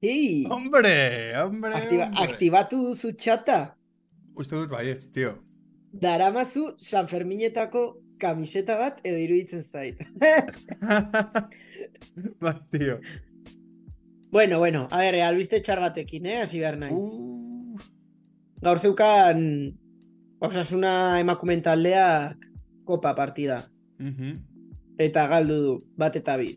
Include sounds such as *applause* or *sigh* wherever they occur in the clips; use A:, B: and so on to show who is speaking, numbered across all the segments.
A: ¡Ey!
B: Hombre, hombre.
A: Activa,
B: hombre.
A: activa tu su txata.
B: Uste dut baietz,
A: *laughs*
B: tío.
A: Daramazu Sanferminetako kamiseta bat edo iruditzen zait.
B: Bai, tío.
A: bueno, bueno, a ber, albiste txar batekin, eh? Hasi behar naiz.
B: Uh,
A: Gaur zeukan osasuna emakumen taldeak kopa partida.
B: ujú.
A: Eta galdu du, bat eta bi.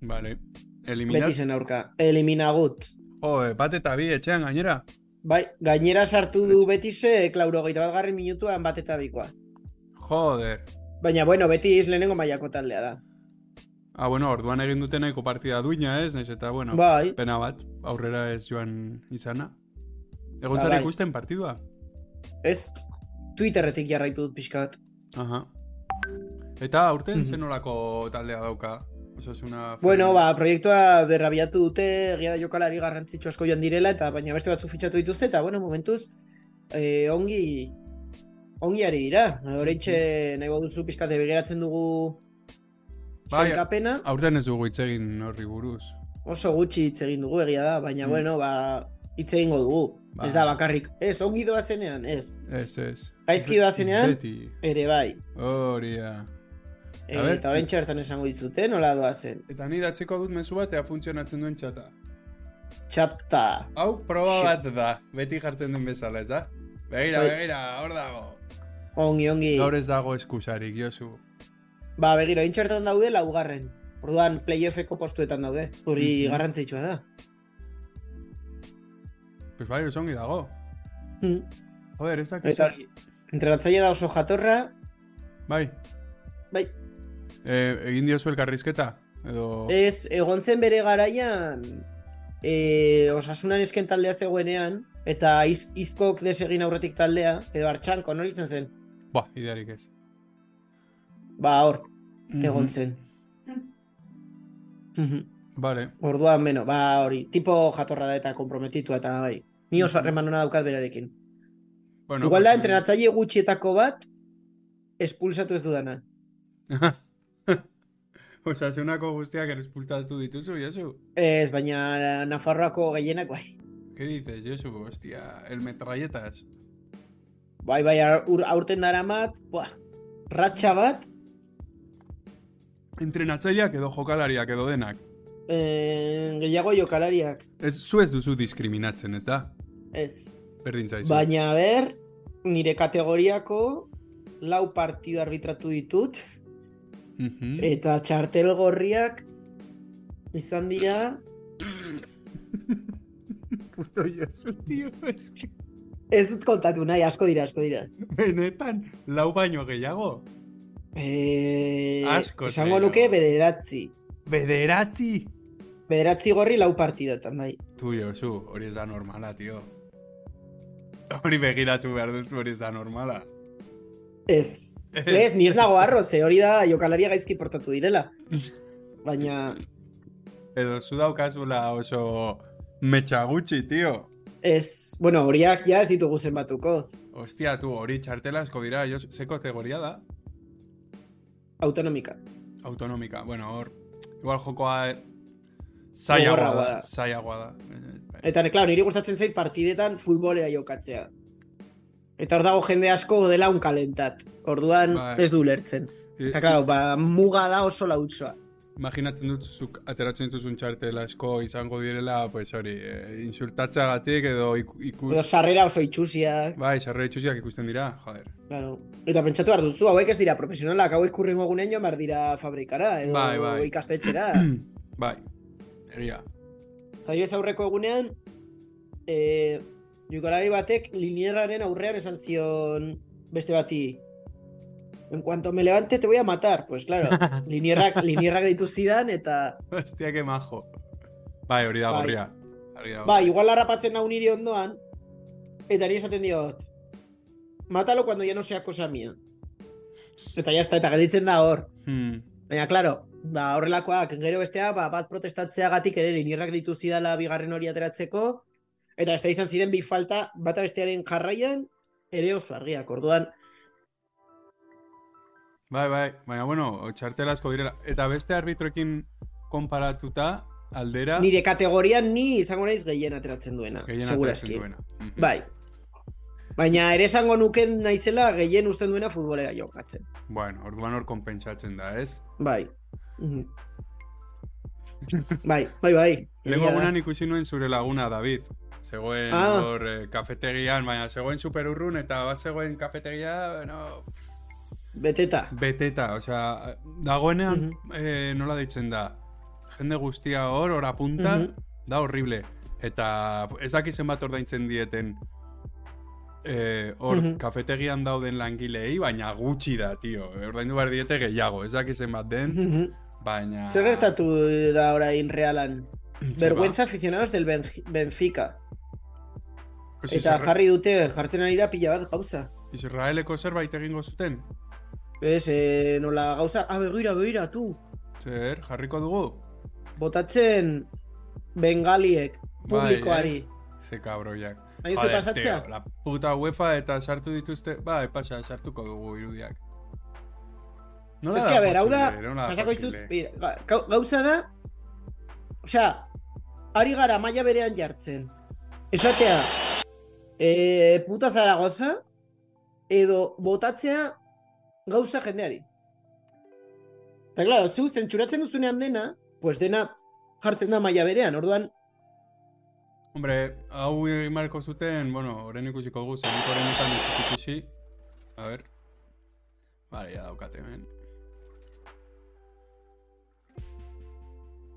B: Vale. Eliminat.
A: Betizen aurka. Eliminagut.
B: Oh, bat eta bi etxean gainera.
A: Bai, gainera sartu du Betisek laurogeita bat garren minutuan bat eta bikoa.
B: Joder.
A: Baina, bueno, Betis lehenengo mailako taldea da.
B: Ah, bueno, orduan egin duteneko partida duina ez, naiz eta, bueno,
A: Bai,
B: pena bat, aurrera ez joan izana. Egon
A: Ba,
B: zara
A: bai.
B: ikusten partidua?
A: ez Twitterretik jarraitu dut pixka bat.
B: Aha. Eta aurten
A: Mhm.
B: zen olako taldea dauka? Osasuna...
A: Bueno, ba, proiektua berrabiatu dute, egia da jokalari garrantzitsu asko joan direla, eta baina beste batzu fitxatu dituzte, eta bueno, momentuz, eh, ongi, ongi ari dira. Horeitxe, nahi baduzu pixkate begiratzen dugu
B: Bai,
A: sailkapena.
B: Aurten ez dugu hitz egin horri buruz.
A: oso gutxi hitz egin dugu egia da, baina
B: Mm.
A: bueno, ba, hitz egingo dugu.
B: Ba.
A: Ez da bakarrik, ez, ongi doazenean, ez.
B: Ez, ez.
A: Gaizki doazenean,
B: Beti.
A: ere bai.
B: Hori da.
A: E,
B: A ber.
A: eta orain bertan esango dizute, nola doazen.
B: Eta ni datzeko dut mezu bat, ea funtzionatzen duen txata.
A: Txapta.
B: Hau, proba
A: Shit.
B: bat da. Beti jartzen duen bezala, ez da? Begira,
A: Bai.
B: begira, hor dago.
A: Ongi, ongi.
B: Gaur ez dago eskusarik, Josu.
A: Ba, begiro, orain bertan daude laugarren. Orduan playoffeko postuetan daude. Hori
B: Mhm.
A: garrantzitsua da.
B: Pues bai, osongi dago.
A: Mm.
B: Joder, ez dakiz.
A: Eta hori, entrenatzaile da oso jatorra.
B: Bai.
A: Bai.
B: Eh, egin diozu elkarrizketa? Edo...
A: Ez, egon zen bere garaian, e, osasunan esken taldea zegoenean, eta iz, izkok desegin aurretik taldea, edo hartxanko, nori izan zen?
B: Ba, idearik ez.
A: Ba, hor,
B: Mhm.
A: egon zen. Mhm.
B: Vale.
A: Orduan, beno, ba, hori, tipo jatorra da eta komprometitua eta bai. Ni oso
B: Mhm.
A: harreman ona daukat berarekin.
B: Bueno,
A: Igual da,
B: pues-
A: entrenatzaile gutxietako bat, espulsatu ez dudana.
B: *laughs* Osasunako guztiak errespultatu dituzu, Josu.
A: Ez, baina Nafarroako gehienak, bai.
B: ¿Qué dices, Josu? Hostia, el metralletas.
A: Bai, bai, aur, aurten daramat, buah, ratxa bat,
B: Entrenatzaileak edo jokalariak edo denak.
A: eh, gehiago jokalariak.
B: Ez, zu ez duzu diskriminatzen, ez da?
A: Ez.
B: Berdin zaizu.
A: Baina, ber, nire kategoriako lau partidu arbitratu ditut,
B: Mhm.
A: eta txartel gorriak izan dira,
B: Puto Josu, tío, es que...
A: ez dut kontatu nahi, asko dira, asko dira.
B: Benetan, lau baino gehiago.
A: E,
B: Askoz
A: esango
B: gehiago.
A: nuke bederatzi.
B: Bederatzi!
A: Bederatzi gorri lau partidatan, bai.
B: Tu, Josu, hori ez da normala, tío. Hori begiratu behar duzu hori ez da normala. Eh,
A: Ez. Ez, ni ez nago arro, ze hori da jokalaria gaizki portatu
B: *laughs*
A: direla. Baina,
B: Edo zu daukazula oso metxa gutxi, tío.
A: ez, bueno, horiak ja ez ditugu zenbatuko.
B: Hostia, tu, hori txartela asko dira, jo, ze kategoria da?
A: Autonomika.
B: Autonomika, bueno, hor, igual jokoa zailagoa
A: Gogorragoa
B: da,
A: da.
B: zailagoa da. Eh, eh,
A: Eta, ne, klaro, niri gustatzen zait partidetan futbolera jokatzea. Eta hor dago jende asko dela unkalentat. Orduan
B: Bai.
A: ez du lertzen.
B: eh,
A: Eta, klaro, ba, muga da oso lautsoa.
B: Imaginatzen dut zuk ateratzen dituzun txartela asko izango direla, pues hori, eh, insultatzagatik edo iku... iku
A: Edo sarrera oso itxusiak.
B: bai, sarrera itxusiak ikusten dira, joder. *clears throat*
A: Claro. Eta pentsatu behar duzu, hauek ez dira profesionalak, hauek kurrengo egunean joan behar dira fabrikara, edo
B: Bai, bai.
A: ikastetxera.
B: *laughs* bai, eria.
A: Zaio ez aurreko egunean, e, jokalari batek linieraren aurrean esan zion beste bati, en cuanto me levante te voy a matar. Pues claro, linierrak, linierrak deitu zidan, eta
B: *laughs* Hostia, que majo. Bai, hori da
A: Bai.
B: gorria. Hori da
A: ba, igual harrapatzen nau niri ondoan, eta nire esaten diot, matalo cuando ya no sea cosa mía. Eta jazta, eta gelditzen da hor.
B: Hmm.
A: Baina, claro, ba, horrelakoak, gero bestea, ba, bat protestatzeagatik ere linierrak ditu zidala bigarren hori ateratzeko, eta ez da izan ziren bi falta bata bestearen jarraian, ere oso argiak, orduan,
B: Bai, bai, baina bueno, txartela asko direla. Eta beste arbitroekin konparatuta, aldera
A: Nire kategorian ni izango naiz gehien ateratzen duena,
B: gehien
A: segurazki.
B: ateratzen duena. Mhm.
A: Bai. Baina ere esango nuken naizela gehien uzten duena futbolera jokatzen.
B: Bueno, orduan hor konpentsatzen da, ez?
A: Bai.
B: *laughs*
A: Mhm. bai, bai, bai.
B: Lego
A: Egia da.
B: egunan ikusi nuen zure laguna, David. Zegoen
A: Ah.
B: hor eh, kafetegian, baina zegoen superurrun eta bat zegoen kafetegia, bueno,
A: Beteta.
B: beteta, osea, dagoenean
A: Mhm.
B: eh, nola deitzen da. Jende guztia hor, hor apunta,
A: Mhm.
B: da horrible. Eta ez daki zenbat ordaintzen dieten eh, hor
A: Mhm.
B: kafetegian dauden langileei, baina gutxi da, tio. Ordaindu behar diete gehiago, ez daki zenbat den,
A: Mhm.
B: baina...
A: Zer gertatu da orain Realan?
B: Ze ba.
A: Vergüenza aficionados del Benj- Benfica.
B: Pues
A: Eta
B: Isra-
A: jarri dute, jartzen ari da pila bat gauza.
B: Israeleko zerbait egingo zuten?
A: Ez, eh, nola gauza, ah, begira, begira, tu.
B: Zer, jarriko dugu?
A: Botatzen bengaliek,
B: Bai,
A: publikoari.
B: Ze kabroiak.
A: Nahi duzu
B: Joder,
A: pasatzea?
B: tío, la puta UEFA eta sartu dituzte... Bai, pasa, sartuko dugu irudiak. Nola
A: Es que, a ver, hau da,
B: posible? Nola
A: pasako izut,
B: Ah, posible?
A: mira, ga- gau- gauza da, osea, ari gara maila berean jartzen. Esatea, eh, puta Zaragoza, edo botatzea gauza jendeari. Eta, claro, zu zentsuratzen duzunean dena, pues dena jartzen da maila berean, orduan,
B: Hombre, hau egin beharko zuten, bueno, orain ikusiko dugu, zen nik orain ez dut ikusi. A ver. Vale, ya daukate, men.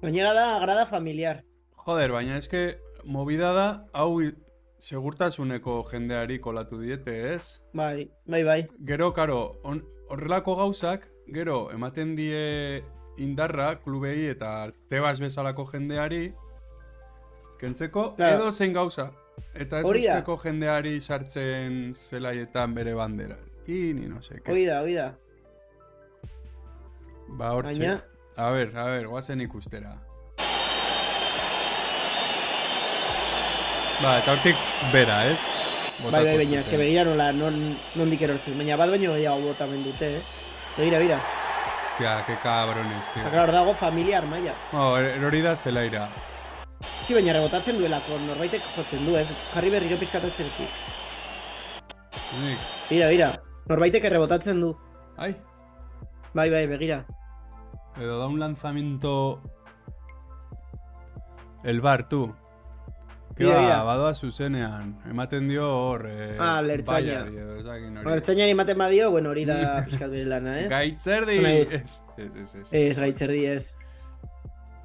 A: gainera da agrada familiar.
B: Joder, baina eske, movida da, hau i- segurtasuneko jendeari kolatu diete, ez?
A: Bai, bai, bai.
B: Gero, karo, on- horrelako gauzak, gero, ematen die indarra, klubei eta tebas bezalako jendeari, kentzeko,
A: Claro.
B: edo zen gauza. Eta ez
A: Hori da.
B: usteko jendeari sartzen zelaietan bere bandera. I, ni no seke.
A: Hoi da, hoi da.
B: Ba, hortxe.
A: Baina-
B: A ber, a ber, guazen ikustera. Ba, eta hortik bera, ez?
A: Bai, bai,
B: Botako
A: baina, eske
B: zuten.
A: begira nola, non, nondik erortzen, baina bat baino gehiago bota hemen dute, eh? Begira, begira.
B: Hostia, que cabrones, tío.
A: Eta claro, hor dago familiar maila.
B: Oh, erori da zelaira.
A: Si baina rebotatzen duelako, norbaitek jotzen du, eh? Jarri berriro pizkatatzenetik.
B: Nik,
A: Bira, bira. Norbaitek errebotatzen du.
B: Ai,
A: Bai, bai, begira.
B: Pero da un lanzamiento. El bar, tú. Que
A: Mira,
B: ba,
A: mira.
B: badoa zuzenean. Ematen dio hor. Eh,
A: Ah, lertzaina.
B: baiari edo ezakin hori.
A: Ba, Ertzainari ematen badio, bueno, hori
B: *laughs*
A: da pizkat bere lana, ez?
B: Gaitzerdi!
A: Nahi dut.
B: Ez, ez, ez, ez.
A: Ez, gaitzerdi ez.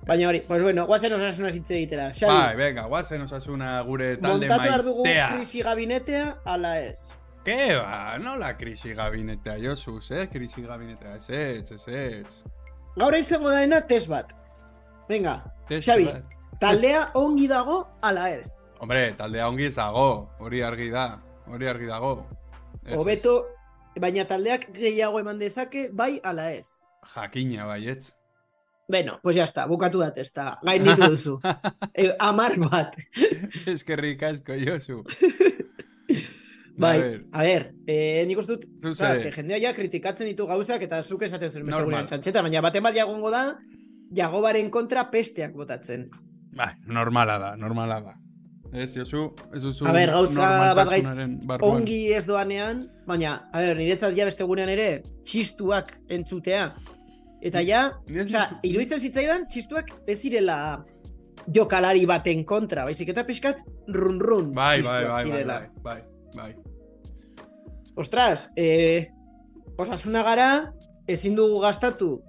A: Baina hori, pues bueno, guazen osasuna hitz egitera.
B: Bai,
A: Xabi,
B: venga, guazen osasuna gure talde
A: montatu behar dugu
B: maitea.
A: krisi gabinetea, ala ez.
B: Ke ba, nola krisi gabinetea, Josuz, eh? Krisi gabinetea, ez, ez, ez, ez.
A: Gaur izango daena test bat. Venga,
B: Testu
A: Xabi,
B: bat. *laughs*
A: taldea ongi dago, ala ez.
B: Hombre, taldea ongi ez dago, hori argi da, hori argi dago. Ez, ez.
A: Hobeto, baina taldeak gehiago eman dezake, bai, ala ez.
B: Jakina bai,
A: *laughs*
B: baietz.
A: Bueno, pues ya está, bukatu da testa, gainditu
B: *laughs*
A: duzu. e, amar bat.
B: Eskerrik asko,
A: *laughs*
B: Josu.
A: Bai,
B: A ver,
A: a ber, eh, nik uste dut,
B: zu
A: claro, eske
B: ze,
A: jendea ja kritikatzen ditu gauzak eta zuk esaten zuen beste
B: Normal.
A: gurean txantxeta, baina baten bat jagongo da, jagobaren kontra pesteak botatzen.
B: bai, normala da, normala da. Ez, Josu, ez duzu
A: A ber, gauza bat gaiz-
B: normaltasunaren barruan.
A: Ongi ez doanean, baina, a ber, niretzat ja beste gurean ere, txistuak entzutea. Eta ja,
B: Ni ez
A: osea,
B: ditut-
A: iruditzen zitzaidan, txistuak ez zirela jokalari baten kontra, baizik eta pixkat run-run
B: Bai, bai,
A: txistuak
B: bai, bai,
A: zirela.
B: bai, bai, bai.
A: Ostras, eh, osasuna gara, ezin dugu gastatu,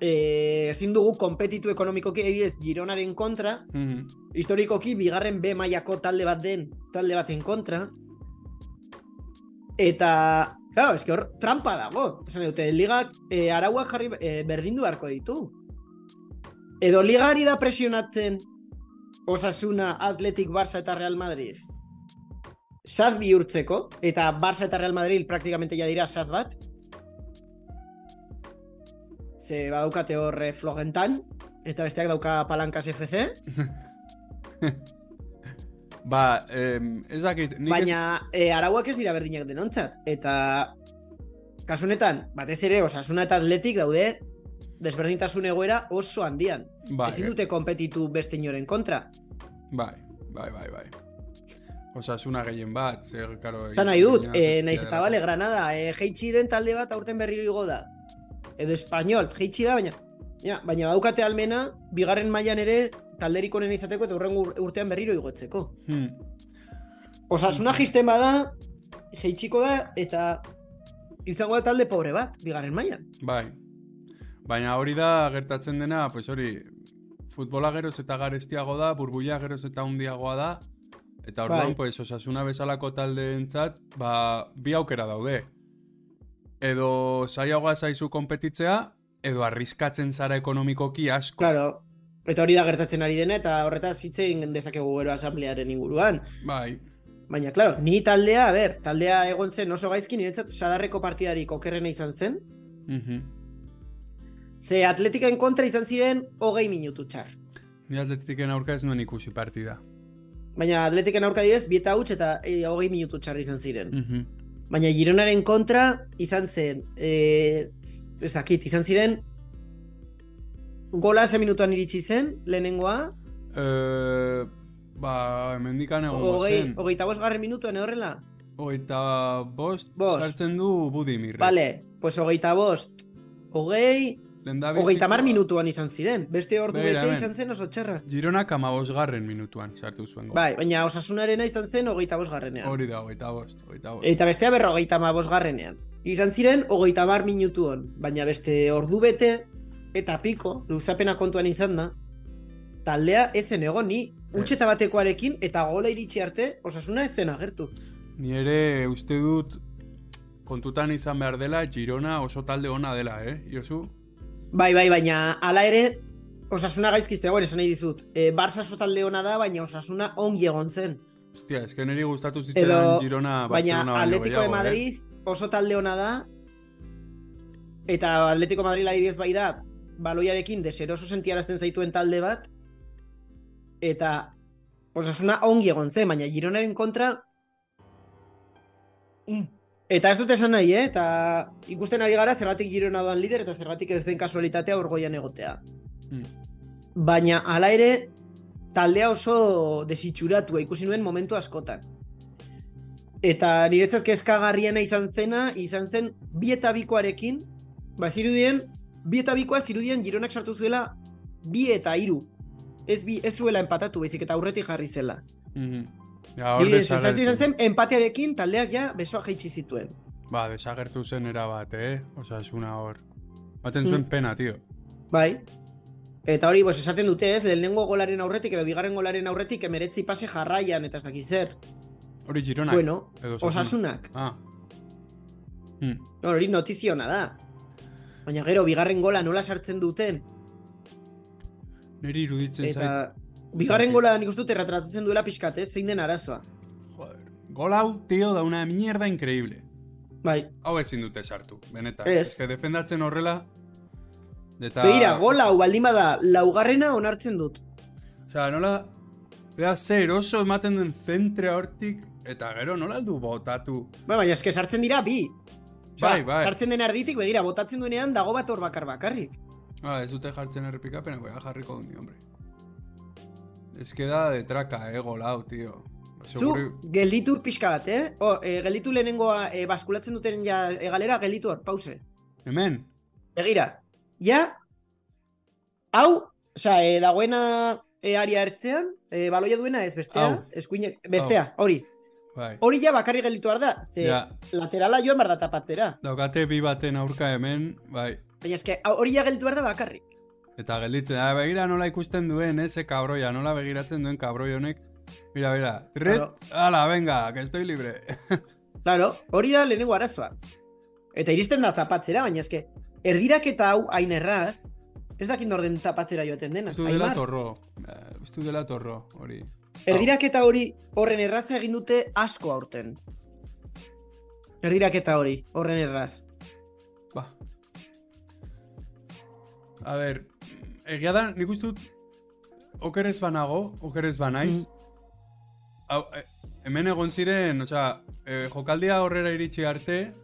A: eh, ezin dugu kompetitu ekonomikoki adibidez Gironaren kontra,
B: Mhm.
A: historikoki bigarren B mailako talde bat den, talde baten kontra. Eta, claro, eske hor trampa dago. Esan dute, ligak eh, arauak jarri eh, berdindu beharko ditu. Edo ligari da presionatzen Osasuna, Atletik, Barça eta Real Madrid. Saz bihurtzeko, eta Barça eta Real Madrid praktikamente ja dira saz bat. Ze badaukate hor eh, flogentan, eta besteak dauka palancas FC.
B: Ba, em, ez dakit, nik ez-
A: Baina eh, arauak ez dira berdinak denontzat. Eta kasu honetan, batez ere, osasuna eta atletik daude desberdintasun egoera oso handian.
B: Bai,
A: Ezin dute kompetitu beste inoren kontra.
B: bai, bai, bai, bai. Osasuna gehien bat, zer, karo...
A: Zan nahi dut,
B: egiten
A: eh,
B: dena
A: naiz
B: zuzkia
A: eta
B: delako.
A: bale, Granada, eh, jeitsi den talde bat aurten berriro igo da. Edo espainol, jeitsi da, baina, ja, baina daukate almena, bigarren mailan ere talderik onen izateko eta urrengo ur- urtean berriro igotzeko.
B: Hmm. Mm.
A: Osasuna jisten bada, jeitsiko da, eta izango da talde pobre bat, bigarren mailan.
B: Bai. Baina hori da gertatzen dena, pues hori, futbola geroz eta garestiago da, burbuia geroz eta hundiagoa da, eta orduan,
A: Bai.
B: pues, osasuna bezalako taldeentzat, ba, bi aukera daude. Edo zaiagoa zaizu kompetitzea, edo arriskatzen zara ekonomikoki asko.
A: Claro, eta hori da gertatzen ari dena, eta horretaz hitz egin dezakegu gero asamblearen inguruan.
B: Bai,
A: Baina, claro, ni taldea, a ber, taldea egon zen oso gaizki, niretzat sadarreko partidarik okerrena izan zen,
B: mhm.
A: Ze Atletiken kontra izan ziren hogei minutu txar.
B: Ni atletiken aurka ez nuen ikusi partida.
A: Baina Atletiken aurka direz, bieta huts eta e, hogei minutu txar izan ziren.
B: Mhm.
A: Baina Gironaren kontra izan zen, e, ez dakit, izan ziren gola ze minutuan iritsi zen, lehenengoa,
B: Eh, ba, mendikan egon
A: hogei,
B: zen.
A: hogeita bosgarren minutuan edo horrela.
B: Hogeita bost,
A: Bost.
B: sartzen du Budimirre.
A: Vale, pues hogeita bost, hogei,
B: Lehendabiziko-
A: hogeita mar minutuan izan ziren. Beste ordu
B: Begira,
A: bete
B: hemen.
A: izan zen oso txarra.
B: Gironak amabosgarren minutuan sartu zuen gol.
A: Bai, baina osasunarena izan zen hogeita bosgarrenean.
B: Hori da, hogeita bost, hogeita bost.
A: Eta bestea berrogeita ma bosgarrenean. Izan ziren, hogeita mar minutu hon, baina beste ordu bete, eta piko, luzapena kontuan izan da, taldea ezen egon ni, utxeta batekoarekin eta gola iritsi arte osasuna ez zen agertu.
B: Ni ere uste dut kontutan izan behar dela Girona oso talde ona dela, eh? Josu?
A: Bai, bai, baina hala ere, osasuna gaizki zegoen, esan nahi dizut. E, Barça oso talde ona da, baina osasuna ongi egon zen.
B: Hostia, ez que niri gustatu zitzaidan
A: Edo-
B: Girona
A: Baina
B: Barcelona Ah, baino
A: Atletico de
B: gehiago, eh?
A: Madrid oso talde ona da, eta Atletico de Madrid adibidez bai da, baloiarekin deseroso sentiarazten zaituen talde bat, eta osasuna ongi egon zen, baina Gironaren kontra... Mm. Eta ez dut esan nahi, eh? eta ikusten ari gara zergatik Girona doan lider eta zergatik ez den kasualitatea urgoian egotea.
B: Mm,
A: Baina hala ere taldea oso desitxuratua ikusi nuen momentu askotan. Eta niretzat kezkagarriena izan zena, izan zen bi eta bikoarekin, ba zirudien, bi eta bikoa zirudien Gironak sartu zuela bi eta hiru. Ez, bi, ez zuela empatatu, baizik eta aurretik jarri zela.
B: mhm. Ja, hor
A: Nire
B: desagertu.
A: sensazio izan zen, empatearekin taldeak ja besoa jaitsi zituen.
B: Ba, desagertu zen erabat, eh? Osasuna hor. Baten zuen
A: Mm.
B: pena, tío.
A: Bai. Eta hori, pues, esaten dute ez, lehenengo golaren aurretik edo bigarren golaren aurretik emeretzi pase jarraian eta ez dakiz zer.
B: Hori Girona.
A: Bueno,
B: edo Osasuna.
A: osasunak.
B: Ah. Mm.
A: No, hori notizio ona da. Baina gero, bigarren gola nola sartzen duten.
B: Niri iruditzen zait.
A: Eta bigarren
B: zait-
A: gola nik uste dut erratratatzen duela pixkat, ez? Zein den arazoa.
B: Joder. Gol hau, tío, da una mierda increíble.
A: Bai,
B: hau ezin dute sartu, benetan.
A: Ez.
B: Ez. que defendatzen horrela, eta...
A: begira, gola hau baldin bada laugarrena onartzen dut.
B: Osea, nola... Bea, ze eroso ematen duen zentrea hortik, eta gero nola aldu botatu.
A: Bai, baina eske sartzen dira bi. Osea,
B: Bai, bai.
A: Sartzen den erditik, begira, botatzen duenean dago bat hor bakar bakarrik.
B: Ah, ez dute jartzen errepikapena, baina jarriko dundi, hombre. Ez que da de traka, eh, gol hau, tío. Seguri-
A: Zu, gelditu pixka bat, eh? O, eh, gelditu lehenengoa eh, baskulatzen duten ja eh, galera, gelditu hor, pause.
B: Hemen?
A: Begira, ja, hau, osea, e, dagoena e, aria ertzean, e, baloia duena ez bestea,
B: Hau.
A: eskuine, bestea, hori.
B: Bai.
A: Hori ja bakarrik gelditu behar da, ze
B: Ja.
A: laterala joan behar da tapatzera.
B: Daukate bi baten aurka hemen, bai.
A: Baina eske, hau- hori ja gelditu behar da bakarrik.
B: Eta gelditzen, ah, begira nola ikusten duen, eh, ze kabroia, nola begiratzen duen kabroi honek. Mira, mira, tret,
A: Claro.
B: ala, venga, que
A: *laughs*
B: estoy libre.
A: Claro, hori da lehenengo arazoa. Eta iristen da tapatzera, baina eske, erdirak eta hau hain erraz, ez dakit norden tapatzera joaten dena.
B: Ustu dela
A: Aimar,
B: torro. Eh, Ustu dela torro, hori.
A: erdirak eta hori horren erraza egin dute asko aurten. Erdirak eta hori, horren erraz.
B: Ba. A ber, egia da, nik uste dut, okerez banago, okerez banaiz.
A: Mm.
B: Hau, eh, hemen egon ziren, osea, eh, jokaldia horrera iritsi arte,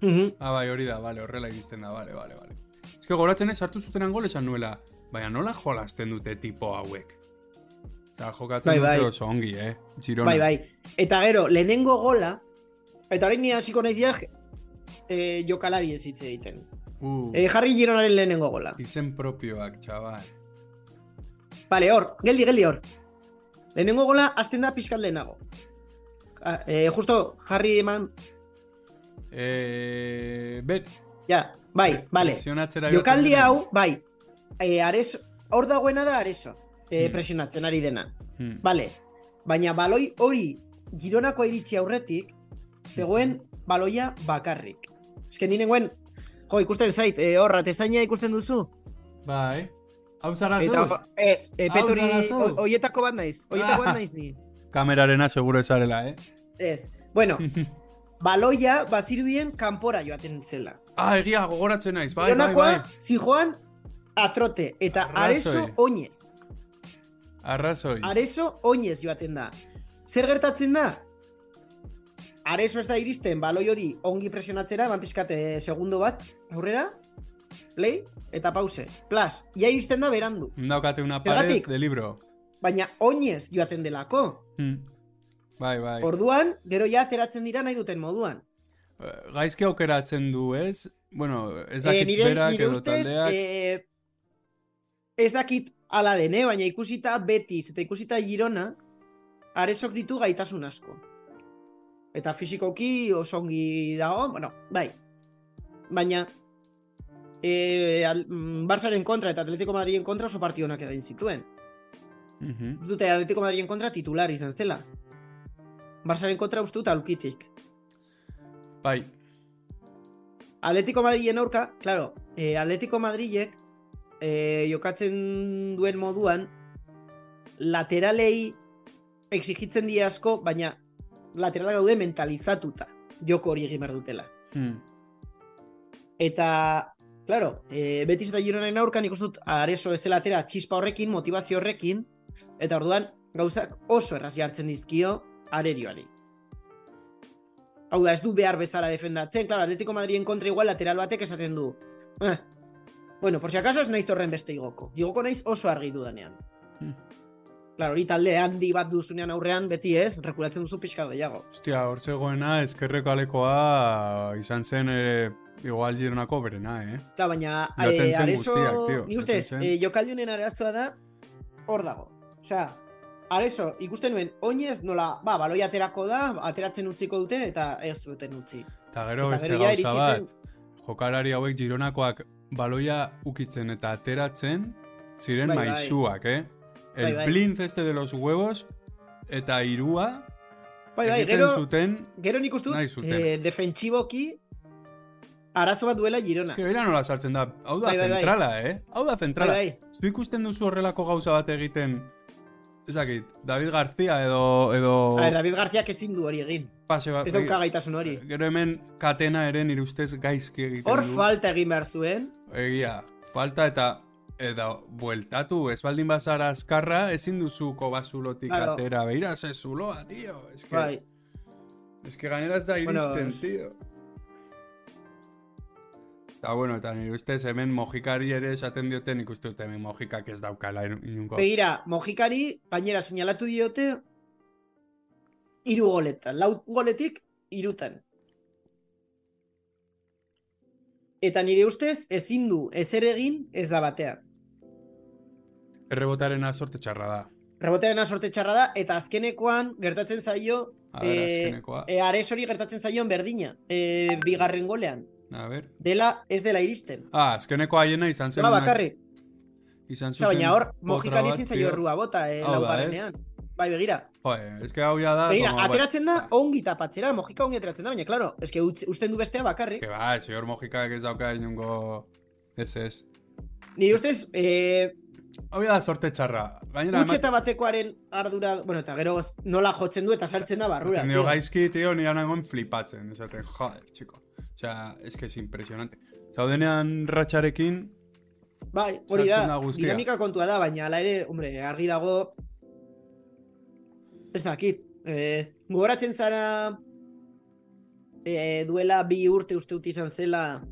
A: Mhm.
B: Ah, bai, hori da, vale, horrela iristen da, vale, vale, vale. Ez que Eske goratzen ez hartu zutenan gol esan nuela. Baina nola jolasten dute tipo hauek? Osea, jokatzen
A: Bai,
B: dute
A: bai.
B: oso ongi, eh? Girona.
A: Bai, bai. Eta gero, lehenengo gola, eta orain ni hasiko naiz ja eh, jokalari ez hitz egiten.
B: Uh,
A: Eh, Harry Gironaren lehenengo gola.
B: Izen propioak, txabal.
A: Bale, hor, geldi, geldi hor. Lehenengo gola hasten da pixkat lehenago. Ja, eh, justo, Harry eman...
B: Eh, bet,
A: Ja, bai, bale.
B: presionatzera
A: Jokaldi
B: joaten
A: hau, bai. Eh, areso, hor dagoena da areso. Eh,
B: Hmm.
A: Presionatzen ari dena.
B: diren. Hmm.
A: Bale, baina baloi hori Gironako iritsi aurretik zegoen baloia bakarrik. Ezken ni nengoen, jo, ikusten zait, eh, horra, tezaina ikusten duzu?
B: Bai. Hau zara
A: Eta,
B: zu?
A: ez, eh,
B: Hau
A: petori,
B: zara zu?
A: ho- hoietako bat naiz, hoietako
B: *laughs*
A: bat naiz ni.
B: Kamerarena seguro esarela, eh? *laughs*
A: Ez, bueno, baloia bazirudien kanpora joaten zela.
B: ah, egia gogoratzen naiz, bai, bai,
A: Gironakoa,
B: bai.
A: zijoan, atrote, eta
B: Arrazoi.
A: areso oinez.
B: Arrazoi.
A: Areso oinez joaten da. Zer gertatzen da? Areso ez da iristen baloi hori ongi presionatzera, ban pizkate segundo bat, aurrera, play, eta pause, plas, ia iristen da berandu.
B: Daukate una pared
A: Zergatik?
B: de libro.
A: Baina oinez joaten delako.
B: Hmm. Bai, bai.
A: Orduan, gero ja ateratzen dira nahi duten moduan.
B: Eh, Gaizki aukeratzen du, ez? Bueno, ez
A: Eh,
B: dakit
A: nire,
B: berak
A: nire
B: edo
A: ustez,
B: taldeak.
A: eh, ez dakit ala den, eh? baina ikusita Betis eta ikusita Girona, aresok ditu gaitasun asko. Eta fisikoki oso ongi dago, bueno, bai. Baina, eh, al, mm, Barçaren kontra eta Atletico Madrilen kontra oso partidonak egin zituen. eh,
B: Mhm.
A: Uste dut Atletico Madrilen kontra titular izan zela. Barçaren kontra uste dut aulkitik.
B: Bai.
A: Atletico Madrilen aurka, claro, eh, Atletico Madrilek eh, jokatzen duen moduan lateralei exigitzen die asko, baina lateralak daude mentalizatuta joko hori egin behar dutela.
B: Hmm.
A: Eta, claro, eh, Betis eta Gironaren aurkan ikustut areso ez dela atera txispa horrekin, motivazio horrekin, eta orduan gauzak oso erraz jartzen dizkio arerioari. Hau da, ez du behar bezala defendatzen, claro, Atletico Madrien kontra igual lateral batek esaten du. "Eh, bueno, por si acaso ez naiz horren beste igoko. Igoko naiz oso argi dudanean.
B: Hmm.
A: Claro, hori talde handi bat duzunean aurrean, beti ez, rekulatzen duzu pixka gehiago.
B: Hostia, hor zegoena eskerreko alekoa izan zen eh, igual Gironako berena, eh?
A: Claro, baina
B: Joaten
A: eh,
B: zen
A: Areso,
B: guztiak, tio,
A: ni
B: joaten
A: ustez,
B: zen.
A: eh, jokaldi honen arazoa da, hor dago. Osea, Areso, ikusten nuen, oinez nola, ba, baloi aterako da, ateratzen utziko dute, eta ez duten utzi.
B: Eta gero
A: Eta
B: beste
A: gero ja
B: gauza
A: iritsi
B: bat.
A: zen.
B: Jokalari hauek Gironakoak baloia ukitzen eta ateratzen ziren
A: Bai, bai.
B: maizuak, eh? El
A: Bai, bai.
B: blintz este de los huevos eta irua
A: Bai, bai,
B: egiten
A: gero,
B: zuten...
A: gero nik ustut,
B: nahi zuten.
A: eh, defentsiboki, arazo bat duela Girona.
B: Que bera nola sartzen da. Hau da
A: Bai, bai, bai.
B: zentrala, eh? Hau da
A: Bai,
B: zentrala.
A: bai,
B: Zu ikusten duzu horrelako gauza bat egiten, ezakit, David García edo, edo
A: A ver, David Garziak ezin du hori egin.
B: pase bat.
A: Ez dauka gaitasun hori.
B: Gero hemen katena ere nire ustez gaizki egiten
A: Hor
B: du.
A: falta egin behar zuen,
B: Egia, falta eta eta bueltatu, ez baldin bazara azkarra, ezin duzu kobazulotik
A: Claro.
B: atera, beira, ze zuloa, tio, eske,
A: bai.
B: eske gainera ez da
A: Bueno,
B: iristen,
A: es-
B: tio. Eta bueno, eta nire ustez hemen mojikari ere esaten dioten ikuste dut hemen mojikak ez daukala inungo.
A: Begira, Mojikari, gainera seinalatu diote hiru goletan, lau goletik hirutan. Eta nire ustez ezin du ezer egin ez da batean.
B: Errebotaren azorte txarra da.
A: Rebotearena sorte txarra da eta azkenekoan gertatzen zaio
B: A ver,
A: Eh,
B: azkenekoa.
A: e, ares hori gertatzen zaion berdina, e, bigarren golean.
B: A ver.
A: Dela ez dela iristen.
B: Ah, azkeneko haiena izan zen.
A: Ba,
B: una-
A: bakarrik.
B: Izan
A: Osea,
B: zuten.
A: baina hor,
B: potra
A: Mojikari
B: bat,
A: ezin zaio
B: tio.
A: errua bota, e,
B: Hau da, ez?
A: laugarrenean. Bai, begira.
B: Joder, es que hau ya da.
A: Begira,
B: como, bueno,
A: ateratzen da ongi tapatzera, mojika ongi ateratzen da, baina, claro, eske utz- usten du bestea bakarrik.
B: Que ba, el señor Mojika que ez dauka inungo... Ez ez.
A: Nire ustez, eh,
B: Hau ya da sorte txarra. Gainera,
A: utxeta batekoaren ardura, bueno, eta gero nola jotzen du eta sartzen da barrura.
B: Tendido
A: tio.
B: gaizki, tío, nire nangoen flipatzen. Esaten, joder, chico. Osea, es que es impresionante. Zaudenean ratxarekin,
A: Bai, hori da,
B: sartzen da guztia.
A: dinamika kontua da, baina ala ere, hombre, argi dago, ez dakit, eh, gogoratzen zara eh, duela bi urte uste dut izan zela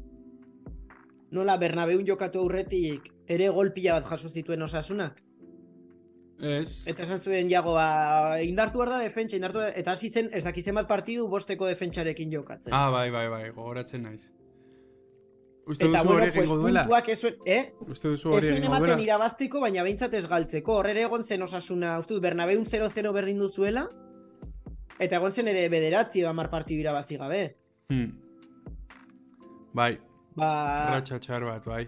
A: nola Bernabeun jokatu aurretik ere gol pila bat jaso zituen osasunak.
B: Ez.
A: Eta esan zuen jago, ba, indartu behar da defentsa, indartu behar- eta hasi zen ez dakizen bat partidu bosteko defentsarekin jokatzen.
B: Ah, bai, bai, bai, gogoratzen naiz. Uste
A: eta
B: duzu
A: bueno,
B: hori
A: pues
B: egingo duela?
A: puntuak ez zuen, eh?
B: Uste duzu
A: Ez
B: hori
A: zuen
B: egingo duela?
A: ematen irabazteko, baina behintzat ez galtzeko. Horre ere egon zen osasuna, uste dut, Bernabeun 0-0 berdin duzuela, eta egon zen ere bederatzi edo amar partidu irabazi gabe.
B: Hmm. Bai,
A: Ba,
B: ratxa txar bat, bai.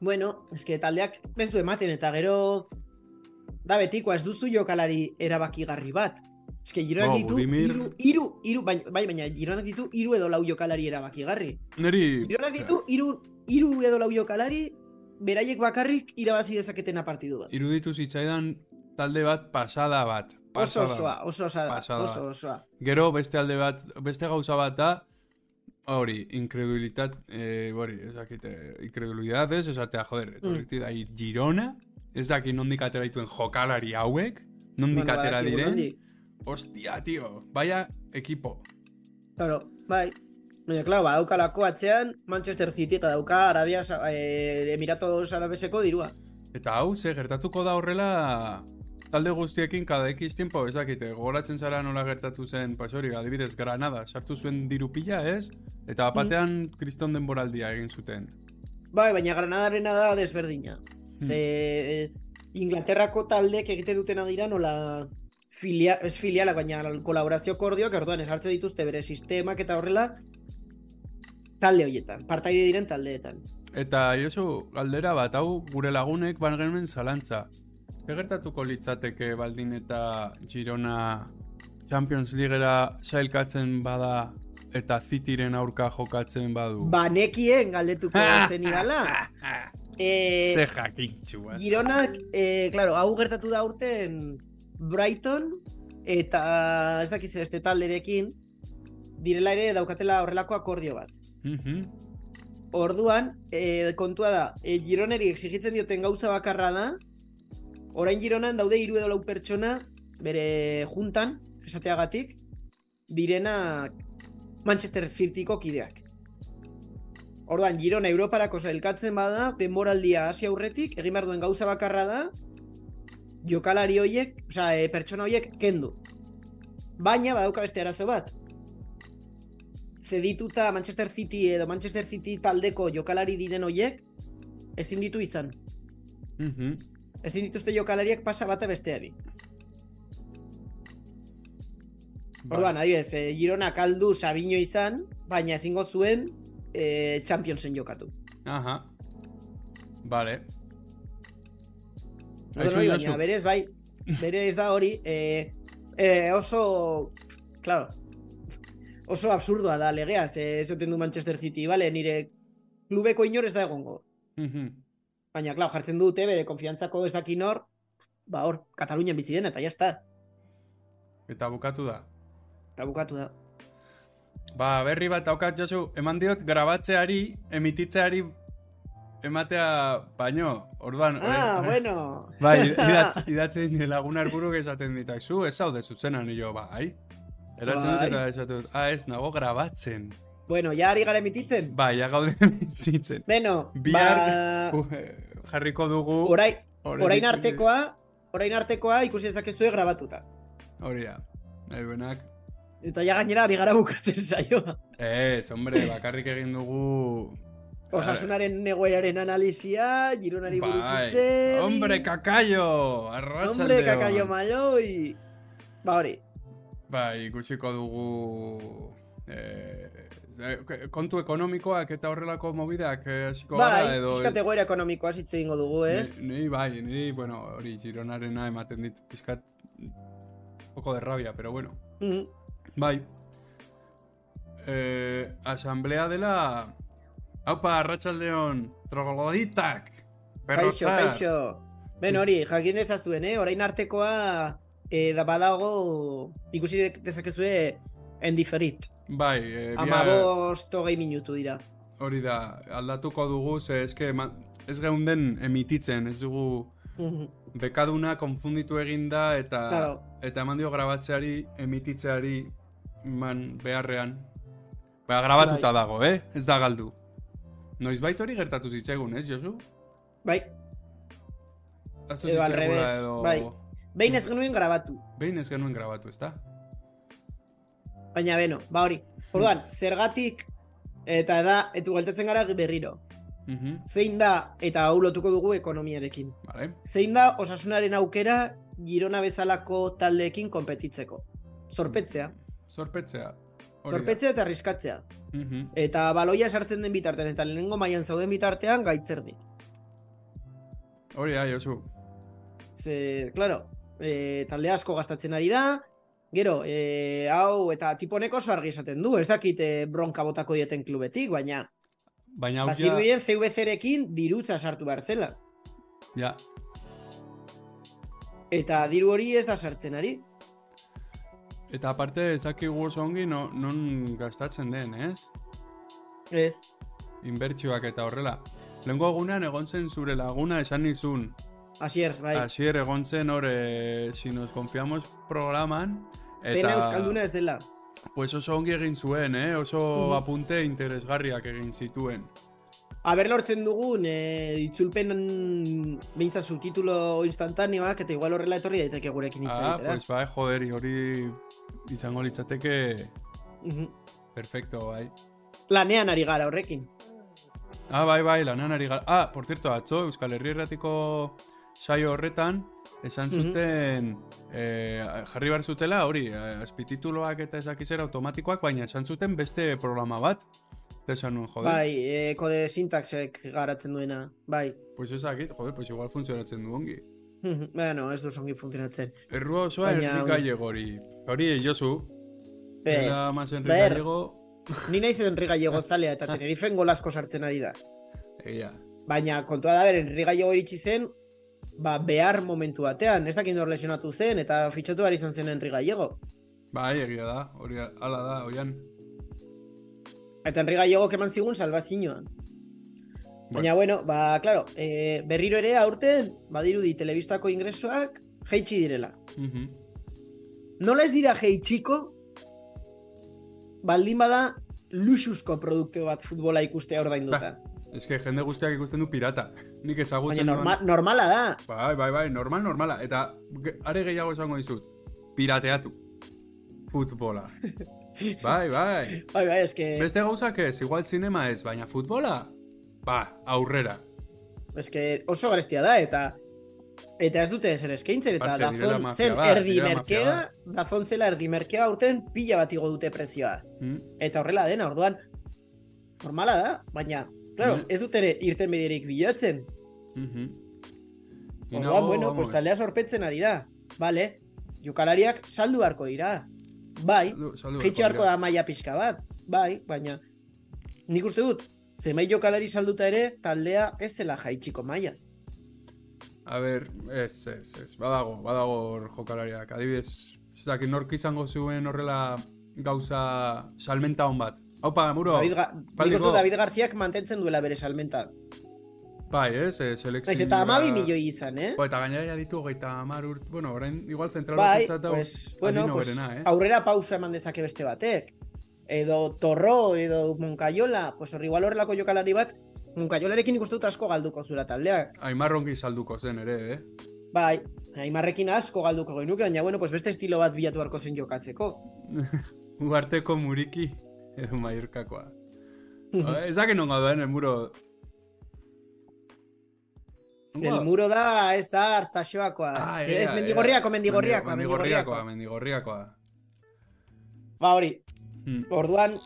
A: Bueno, eske taldeak ez du ematen eta gero da betikoa ez duzu jokalari erabakigarri bat. Eske Gironak
B: Ba,
A: ditu
B: Budimir-
A: hiru hiru hiru bai, bai, baina Gironak ditu hiru edo lau jokalari erabakigarri.
B: Neri...
A: Gironak ditu hiru hiru edo lau jokalari beraiek bakarrik irabazi dezaketena partidu bat.
B: Iruditu zitzaidan talde bat pasada bat.
A: Oso
B: Pasada.
A: osoa, oso osada,
B: Pasada.
A: oso osoa.
B: Gero beste alde bat, beste gauza bat da, hori, incredulitat, eh, hori, ez dakite, incredulidad ez, esatea, joder,
A: Mm.
B: etorri zidai Girona, ez daki nondik atera dituen jokalari hauek, nondik
A: Bueno,
B: atera
A: badakigu
B: diren,
A: nondik.
B: hostia, tio, vaya equipo.
A: Claro, bai. Baina, claro, ba, daukalako atzean Manchester City eta dauka Arabia, Sa- eh, Emiratos Arabeseko dirua.
B: Eta hau, ze gertatuko da horrela talde guztiekin cada X tiempo, ez dakite, gogoratzen zara nola gertatu zen, pues hori, adibidez, Granada, sartu zuen dirupila, ez? Eta batean kriston denboraldia egin zuten.
A: Bai, baina Granadarena da desberdina. Ze eh, Inglaterrako taldeek egiten dutena dira nola filia, ez filialak, baina kolaborazio kordioak, orduan esartze dituzte bere sistemak eta horrela talde hoietan, partaide diren taldeetan.
B: Eta Josu, galdera bat, hau gure lagunek ban genuen zalantza. Ze gertatuko litzateke baldin eta Girona Champions Ligera sailkatzen bada eta Cityren aurka jokatzen badu.
A: Ba, Banekien galdetuko zen idala.
B: *laughs* Ze eh?
A: E,
B: jakintxua.
A: Gironak, e, claro, hau gertatu da urten Brighton eta ez dakiz este talderekin direla ere daukatela horrelako akordio bat.
B: Mhm.
A: Orduan, eh, kontua da, eh, Gironeri exigitzen dioten gauza bakarra da, orain Gironan daude hiru edo lau pertsona bere juntan, esateagatik, direnak Manchester Cityko kideak. Orduan, Girona Europarako sailkatzen bada, denboraldia hasi aurretik, egin behar duen gauza bakarra da, jokalari hoiek, osea, eh, pertsona hoiek kendu. Baina badauka beste arazo bat, zedituta Manchester City edo Manchester City taldeko jokalari diren hoiek ezin ditu izan.
B: Mhm.
A: Ezin dituzte jokalariak pasa bata besteari.
B: Ba.
A: Orduan, adibidez, eh, Girona kaldu Sabino izan, baina ezingo zuen eh, Championsen jokatu.
B: Aha. Vale.
A: Orduan,
B: Aizu,
A: hori,
B: Josu.
A: baina berez, bai, berez da hori eh, eh, oso, claro, oso absurdoa da legea, ze esaten du Manchester City, vale, nire klubeko inor ez da egongo.
B: Mhm.
A: Baina, klar, jartzen dute, bere konfiantzako ez dakin hor, ba hor, Katalunian bizi den, eta jazta.
B: Eta bukatu da.
A: Eta bukatu da.
B: Ba, berri bat daukat, Josu, eman diot grabatzeari, emititzeari ematea baino, orduan...
A: Ah,
B: eh,
A: bueno. *laughs*
B: Bai, idatz, idatzi nire lagun arburu esaten ditak, zu, ez zaude zuzena, nio, bai. Eratzen dut
A: Bai.
B: eta esaten dut, ah, ez, nago grabatzen.
A: Bueno, ja ari gara emititzen.
B: Bai, ja gaude *laughs* emititzen.
A: Beno,
B: Bihar-
A: ba,
B: Uh, jarriko dugu...
A: orain,
B: orain
A: orain
B: ikusi-
A: artekoa, orain artekoa ikusi dezakezue grabatuta.
B: Hori da, Bai, nahi benak.
A: Eta ja gainera ari gara bukatzen *laughs* saioa.
B: Ez, hombre, bakarrik egin dugu...
A: Osasunaren negoeraren analizia, Gironari buruz
B: Bai.
A: hitzen.
B: Hombre, kakaio! Arratxaldeon!
A: Hombre, kakaio maloi. Ba hori,
B: Bai, ikusiko dugu... Eh, ze- kontu ekonomikoak eta horrelako mobideak eh, hasiko gara
A: bai,
B: edo...
A: pixkat egoera ekonomikoa hitz egingo dugu, ez?
B: Ni, ni bai, ni, bueno, hori, Gironarena ematen dit pizkat... Poco de rabia, pero bueno.
A: Mhm.
B: Bai. Eh, asamblea dela... Haupa, arratsaldeon trogoloditak!
A: Kaixo,
B: perrotzak.
A: kaixo. Ben hori, jakin dezazuen, eh? Orain artekoa eh, da badago ikusi de- dezakezue en diferit.
B: Bai, eh, bihar-
A: Amabost hogei minutu dira. *laughs*
B: hori da, aldatuko dugu, ze eske ma- ez geunden emititzen, ez dugu
A: Mhm.
B: bekaduna konfunditu egin da eta
A: Claro.
B: eta eman dio grabatzeari, emititzeari
A: Bai.
B: man beharrean. Ba, grabatuta dago, eh? Ez da galdu. Noizbait hori gertatu zitzaigun, ez, Josu?
A: Bai,
B: Ahaztu
A: Edo al
B: zitzaigula
A: revés, bai. behin ez genuen grabatu.
B: Behin ez genuen grabatu, ezta?
A: Baina beno, ba hori. Orduan, zergatik eta da, etu galtatzen gara berriro.
B: Mhm,
A: Zein da, eta hau lotuko dugu ekonomiarekin.
B: Bale.
A: Zein da osasunaren aukera Girona bezalako taldeekin konpetitzeko. Zorpetzea.
B: Zorpetzea. Hori da.
A: Zorpetzea eta arriskatzea.
B: Mhm,
A: Eta baloia sartzen den bitartean, eta lehenengo mailan zauden bitartean gaitzerdi.
B: Hori da, Josu.
A: Ze, claro, e, talde asko gastatzen ari da, gero, e, hau, eta tiponek oso argi esaten du, ez dakit e, bronka botako dieten klubetik, baina
B: Baina
A: Ba,
B: hau ja...
A: bazirudien CVC-rekin dirutza sartu behar zela.
B: ja,
A: Eta diru hori ez da sartzen ari.
B: Eta aparte, ezakigu oso ongi no, non gastatzen den, ez?
A: Ez.
B: Inbertsioak eta horrela. Lehenko egunean egon zen zure laguna esan nizun.
A: Asier, bai.
B: Asier egon zen hor, eh, si nos confiamos programan. Eta,
A: Pena Euskalduna ez dela.
B: Pues oso ongi egin zuen, eh? Oso
A: Mhm.
B: apunte interesgarriak egin zituen.
A: Aber lortzen dugun, e, itzulpen behintzat subtitulo instantaneoak, eta igual horrela etorri daiteke gurekin hitz
B: Ah,
A: egitera.
B: pues bai, joder, hori izango litzateke
A: Mhm.
B: perfecto, bai.
A: Lanean ari gara horrekin.
B: Ah, bai, bai, lanan ari gara. Ah, por cierto, atzo, Euskal Herri erratiko saio horretan, esan
A: Mhm.
B: zuten, eh, jarri behar zutela, hori, eh, azpitituloak eta ezakizer automatikoak, baina esan zuten beste programa bat. Eta esan nuen, joder,
A: Bai, e, kode sintaxek garatzen duena. Bai.
B: pues ezakit, joder, pues igual funtzionatzen du ongi.
A: Mhm. *laughs* bueno, ez duz ongi funtzionatzen.
B: Errua osoa
A: Baina,
B: Enrique
A: hori-
B: Gallego hori. Hori, eh, Josu,
A: Ez.
B: era más Enrique
A: Ber,
B: Gallego,
A: ni naiz Enri Gallego zalea eta Tenerifen golasko sartzen ari da.
B: egia.
A: Baina kontua da, ber, Enri Gallego iritsi zen, ba, behar momentu batean. Ez dakin hor lesionatu zen, eta fitxatu behar izan zen Enri Gallego.
B: Bai, egia da, hori, ala da, oian.
A: Eta Enri Gallego keman zigun salvazioan. Baina, bueno, ba, claro, e, berriro ere aurten, badirudi, telebistako ingresoak jeitsi direla.
B: Mhm.
A: Nola ez dira jeitsiko, baldin bada, luxuzko produktu bat futbola ikustea ordainduta.
B: Ez que jende guztiak ikusten du pirata. Nik
A: Baina
B: ezagutzen nuen-
A: norma, normala da.
B: Bai, bai, bai, normal, normala. Eta ge- are gehiago esango dizut. Pirateatu.
A: *laughs*
B: Futbola. Bai, bai.
A: Bai, bai, eske,
B: Beste gauzak ez, igual zinema ez, baina futbola? Ba, aurrera.
A: eske oso garestia da, eta eta ez dute zer eskaintzen, eta
B: Parte, direla
A: dazon
B: mafia
A: zen
B: bat,
A: erdi
B: direla mafia
A: merkea,
B: bat.
A: dazon zela erdi merkea aurten pila bat igo dute prezioa.
B: Mm?
A: Eta horrela dena, orduan, normala da, baina, claro,
B: Mhm.
A: ez dut ere irten biderik bilatzen.
B: Mhm. Ni
A: Orduan,
B: nago,
A: bueno,
B: vamos,
A: pues taldea sorpetzen ari da, bale? Jokalariak saldu beharko dira, bai,
B: saldu- saldu
A: jeitxe
B: beharko
A: beharko da maila pixka bat, bai, baina nik uste dut, zenbait jokalari salduta ere, taldea ez zela jaitsiko mailaz.
B: dira. A ber, ez, ez, ez. Badago, badago hor jokalariak. Adibidez, ez dakit nork izango zuen horrela gauza salmenta hon bat. Haupa, muro.
A: David, Ga nik
B: paldiko.
A: uste dut David Garziak mantentzen duela bere salmenta.
B: Bai, ez, ez, selekzioa.
A: Naiz eta amabi milioi izan, eh?
B: Ba, eta gainera ja ditu hogeita hamar urt... Bueno, orain igual zentral
A: Bai,
B: batentzat hau
A: pues, bueno,
B: adino
A: pues,
B: berena, eh?
A: aurrera pausa eman dezake beste batek. Edo Torro, edo Moncayola, pues horri igual horrelako jokalari bat, Moncayolarekin ikuste dut asko galduko zula taldeak.
B: Aimar Ronki salduko zen ere, eh?
A: Bai, Aimarrekin asko galduko genuke, baina bueno, pues beste estilo bat bilatu beharko zen jokatzeko.
B: Uarteko muriki edo mairkakoa.
A: *laughs*
B: Ba, Ez dakit nongo duen, el muro...
A: El muro da, ez da hartaxoakoa.
B: Ah,
A: ez
B: ea,
A: mendigorriakoa,
B: ea.
A: mendigorriakoa,
B: Mendi-
A: mendigorriakoa.
B: mendigorriakoa. Mendigorriakoa,
A: Ba hori,
B: Hmm.
A: orduan,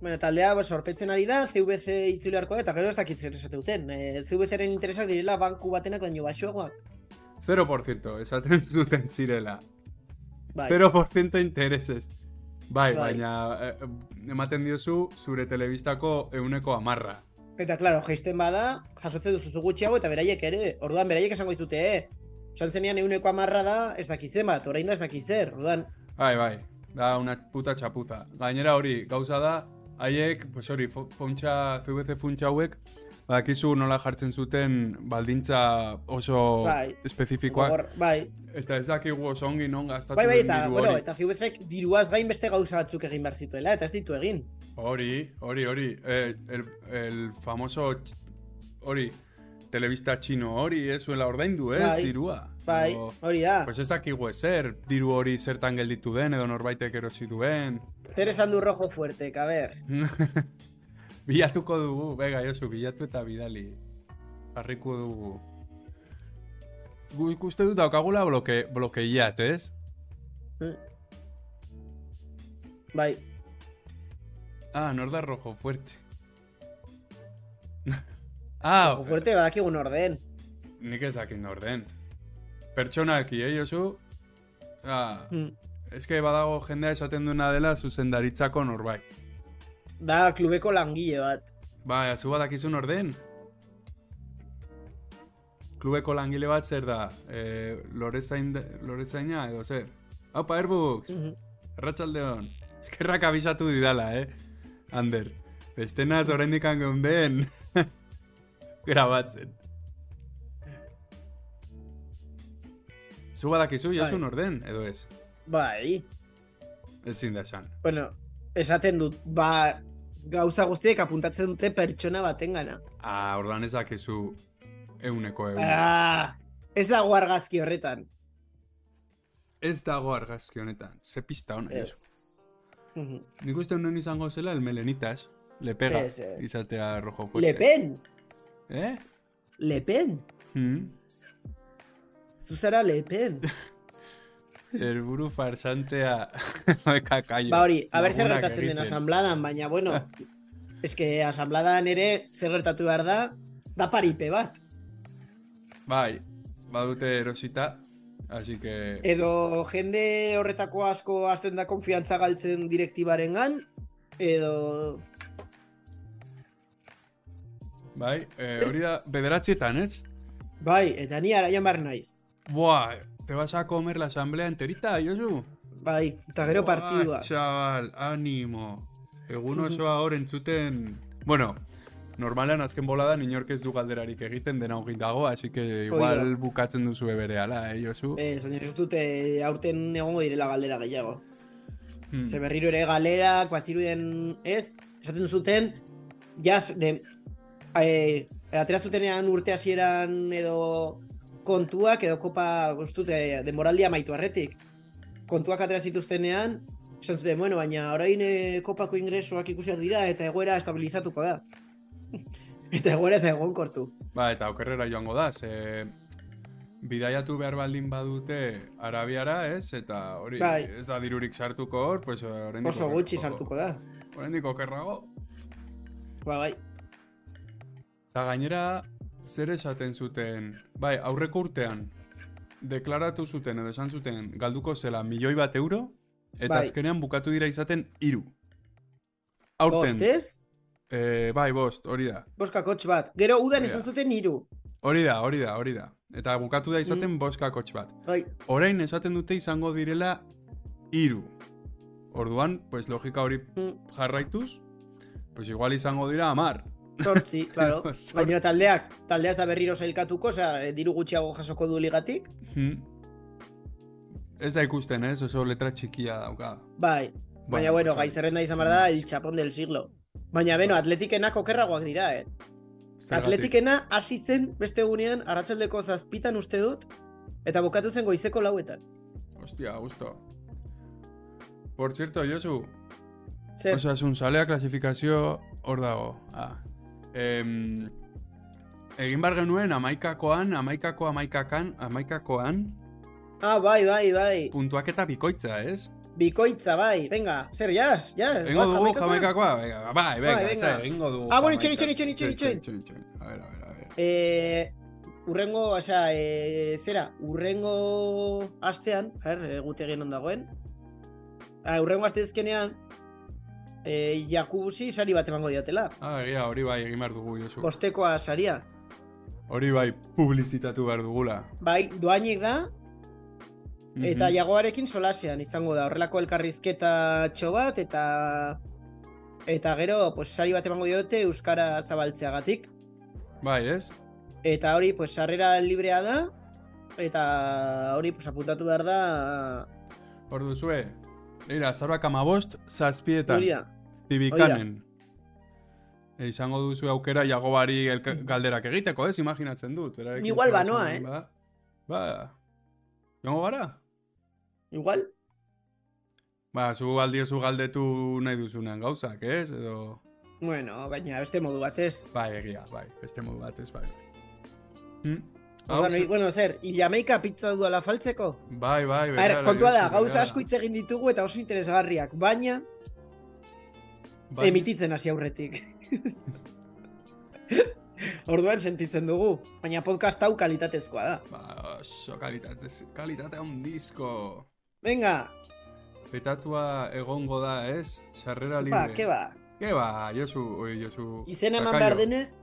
A: bueno, taldea pues, sorpetzen ari da, CVC itzuli beharko da, eta gero ez dakit zer esate duten. Eh, CVCren interesak direla banku batenak baino baxuagoak.
B: 0% esaten *laughs* duten zirela.
A: Bai.
B: 0% intereses. Bai,
A: Bai.
B: baina eh, ematen diozu zure telebistako euneko amarra.
A: Eta, claro, jaisten bada, jasotzen duzu gutxiago eta beraiek ere. Orduan, beraiek esango dizute, eh? Esan zenean euneko amarra da, ez dakizen bat, orain da ez dakizer. Orduan,
B: Bai, bai, da una puta txapuza. Gainera hori, gauza da, haiek, pues hori, fo- funtsa, CVC funtsa hauek, Badakizu nola jartzen zuten baldintza oso
A: Bai.
B: espezifikoak.
A: Gogor- bai,
B: Eta ez dakigu oso ongi non gastatu
A: bai, bai,
B: den
A: eta,
B: diru
A: bueno,
B: hori.
A: eta CVCek diruaz gain beste gauza batzuk egin behar zituela, eta ez ditu egin.
B: Hori, hori, hori. Eh, el, el famoso tx- hori, telebista txino hori, ez zuela ordaindu, eh, ez,
A: Bai.
B: dirua.
A: Bai,
B: Edo,
A: hori da.
B: pues ez dakigu ezer, diru hori zertan gelditu den, edo norbaitek erosi duen.
A: Zer esan du rojo fuertek, a ber.
B: bilatuko dugu, bega, Josu, bilatu eta bidali. Jarriko dugu. Gu ikuste dut daukagula bloke, blokeiat, ez? Hmm.
A: Bai,
B: Ah, nor da rojo fuerte. *laughs* ah,
A: rojo fuerte badakigun orden.
B: Nik ezakin nor den. Pertsonalki, eh, Josu? Ah,
A: Mm.
B: eske badago jendea esaten duena dela zuzendaritzako norbait.
A: Da klubeko langile bat.
B: Ba, zu badakizu nor den? Klubeko langile bat zer da? Eh, lorezain, lorezaina edo zer? Haupa, Airbuks!
A: Mhm.
B: Arratxaldeon. Eskerrak abisatu didala, eh? Ander. Bestenaz oraindik geunden *laughs* grabatzen. Zu badakizu, jasun
A: Bai.
B: orden, edo ez?
A: Bai,
B: Ezin da esan.
A: bueno, esaten dut, ba, gauza guztiek apuntatzen dute pertsona batengana.
B: Ah, ordan ez dakizu euneko egun.
A: Ah, ez dago argazki horretan.
B: Ez dago argazki honetan. Ze pista hona, Josu.
A: Ez. Mhm.
B: Nik uste honen izango zela, el melenitas. Le pega,
A: Ez, ez.
B: izatea rojo fuerte.
A: Le Pen,
B: Eh?
A: Le Pen,
B: Mm.
A: zuzara Le Pen.
B: El buru *laughs* farsantea kakaio.
A: Ba hori, a ber zer
B: Lagunak
A: gertatzen den
B: egiten.
A: asambladan, baina
B: *laughs*
A: bueno, eske asambladan ere zer gertatu behar da, da paripe bat.
B: Bai, badute erosita, así que...
A: Eh, Edo jende horretako asko hasten da konfiantza galtzen direktibarengan, edo
B: Bai, eh,
A: Ez.
B: hori da, bederatzietan, ez?
A: bai, eta ni araian bar naiz.
B: Buah, te vas a comer la asamblea enterita, Josu?
A: Bai, eta gero
B: Buah,
A: partidua.
B: Chaval, ánimo. Egun
A: Mhm.
B: osoa hor entzuten... Bueno, normalean azken boladan inork ez du galderarik egiten dena hogin dago, así que igual
A: Hoi da.
B: bukatzen duzu berehala, eh, Josu?
A: Ez, baina ez dute aurten egongo direla galdera gehiago.
B: Hmm.
A: Ze berriro ere galera, baziruden ez, esaten zuten, jaz, de, e, atera zutenean urte hasieran edo kontuak, edo kopa, ustut, e, denboraldia amaitu arretik. Kontuak atera zituztenean, esan zuten, bueno, baina orain e, kopako ingresoak ikusi behar dira eta egoera estabilizatuko da. *laughs* eta egoera ez da egonkortu.
B: Ba, eta okerrera joango da, ze bidaiatu behar baldin badute arabiara, ez? Eta hori,
A: Bai.
B: ez da dirurik sartuko hor, pues oraindik
A: Oso
B: oker-
A: gutxi sartuko da.
B: Oraindik okerrago.
A: Ba, bai.
B: Eta gainera, zer esaten zuten, bai, aurreko urtean, deklaratu zuten edo esan zuten galduko zela milioi bat euro, eta
A: Bai.
B: azkenean bukatu dira izaten hiru. Aurten,
A: Bost, ez?
B: eh, bai, bost, hori da.
A: Bost kakotx bat. Gero udan
B: Hori da.
A: esan zuten hiru.
B: Hori da, hori da, hori da. Eta bukatu da izaten
A: Mm.
B: bost kakotx bat.
A: Bai,
B: orain esaten dute izango direla hiru. Orduan, pues logika hori
A: Mm.
B: jarraituz, pues igual izango dira amar.
A: Zortzi, claro.
B: Zortzi.
A: Baina taldeak, taldea ez da berriro sailkatuko, osea, eh, diru gutxiago jasoko du ligatik.
B: Mm. *laughs* Ez da ikusten, eh, ez? Oso letra txikia dauka.
A: Bai. Baina, bueno,
B: oso-
A: gai zerrenda izan behar da, el chapón del siglo. Baina, beno, atletikenak okerragoak dira, eh?
B: Zergatik.
A: Atletikena hasi zen beste egunean, arratsaldeko zazpitan uste dut, eta bukatu zen goizeko lauetan.
B: Hostia, gusto. Por cierto, Josu,
A: Zer,
B: osasun zalea klasifikazio hor dago. Ah. Em, egin bar genuen amaikakoan, amaikako amaikakan, amaikakoan,
A: ah, bai, bai, bai.
B: puntuaketa bikoitza, ez?
A: Bikoitza, bai. Venga, zer, jaz, jaz.
B: Egingo
A: baz,
B: dugu
A: jamaikakoan?
B: jamaikakoa, venga, bai, venga,
A: Bai,
B: bai,
A: venga.
B: egingo dugu.
A: Ah, bueno,
B: jamaika.
A: itxoin, itxoin, itxoin, itxoin.
B: A ver, a ver, a ver.
A: Eh, urrengo, osea, eh, zera, urrengo astean, a ber, eh, gutegien on dagoen. Ah, urrengo asteazkenean eh, Jakubusi sari bat emango diotela.
B: Ah, egia, hori bai, egin behar dugu, Josu.
A: Bostekoa saria.
B: Hori bai, publizitatu behar dugula. Mhm.
A: Bai, doainik da, eta jagoarekin solasean izango da. Horrelako elkarrizketa txo bat, eta... Eta gero, pues, sari bat emango diote Euskara zabaltzeagatik.
B: Bai, ez?
A: Eta hori, pues, sarrera librea da, eta hori, pues, apuntatu behar da...
B: Hor duzue, Eira, zarbak amabost, zazpietan,
A: Hori da.
B: zibikanen. E, izango duzu aukera jagobari elka- galderak egiteko, ez? Imaginatzen dut. berarekin
A: Ni igual
B: zeratzen
A: banoa,
B: duen
A: eh?
B: bada. Ba, jongo gara?
A: Igual,
B: Ba, zu aldiezu galdetu nahi duzunean gauzak, ez? Edo,
A: bueno, baina beste modu batez.
B: bai, egia, bai, beste modu batez, bai. Hm? Hau,
A: Bueno,
B: ze-
A: i- bueno, zer, hilameika pizza dudala faltzeko?
B: Bai, bai,
A: A ver,
B: berara,
A: kontua da,
B: bihurtu,
A: gauza
B: berara.
A: asko hitz egin ditugu eta oso interesgarriak, baina
B: Bai,
A: emititzen hasi aurretik. *laughs* Orduan sentitzen dugu, baina podcast hau kalitatezkoa da.
B: Ba, oso kalitate, kalitate handizko.
A: Venga,
B: Petatua egongo da, ez? Sarrera libre.
A: ba, ke ba.
B: Ke ba, Josu, oi, Josu.
A: Izena eman
B: Kakaio.
A: behar denez,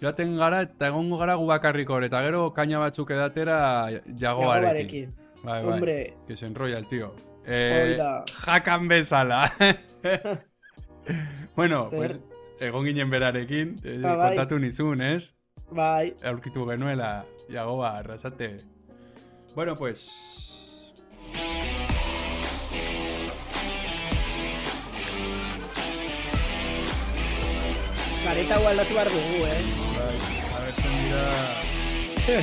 B: Joaten gara eta egongo gara gu bakarrik hor, eta gero kaina batzuk edatera jagoarekin.
A: jagoarekin.
B: Bai, bai.
A: Hombre,
B: Que se enrolla el tío.
A: hori
B: Eh,
A: da.
B: jakan
A: *laughs*
B: bezala. bueno, pues,
A: Zer.
B: egon ginen berarekin, eh,
A: Ba, bai.
B: kontatu nizun, ez?
A: Bai,
B: Aurkitu genuela, jagoa, arrasate. Bueno, pues...
A: kareta hau aldatu behar dugu, eh?
B: Bai, agertzen dira...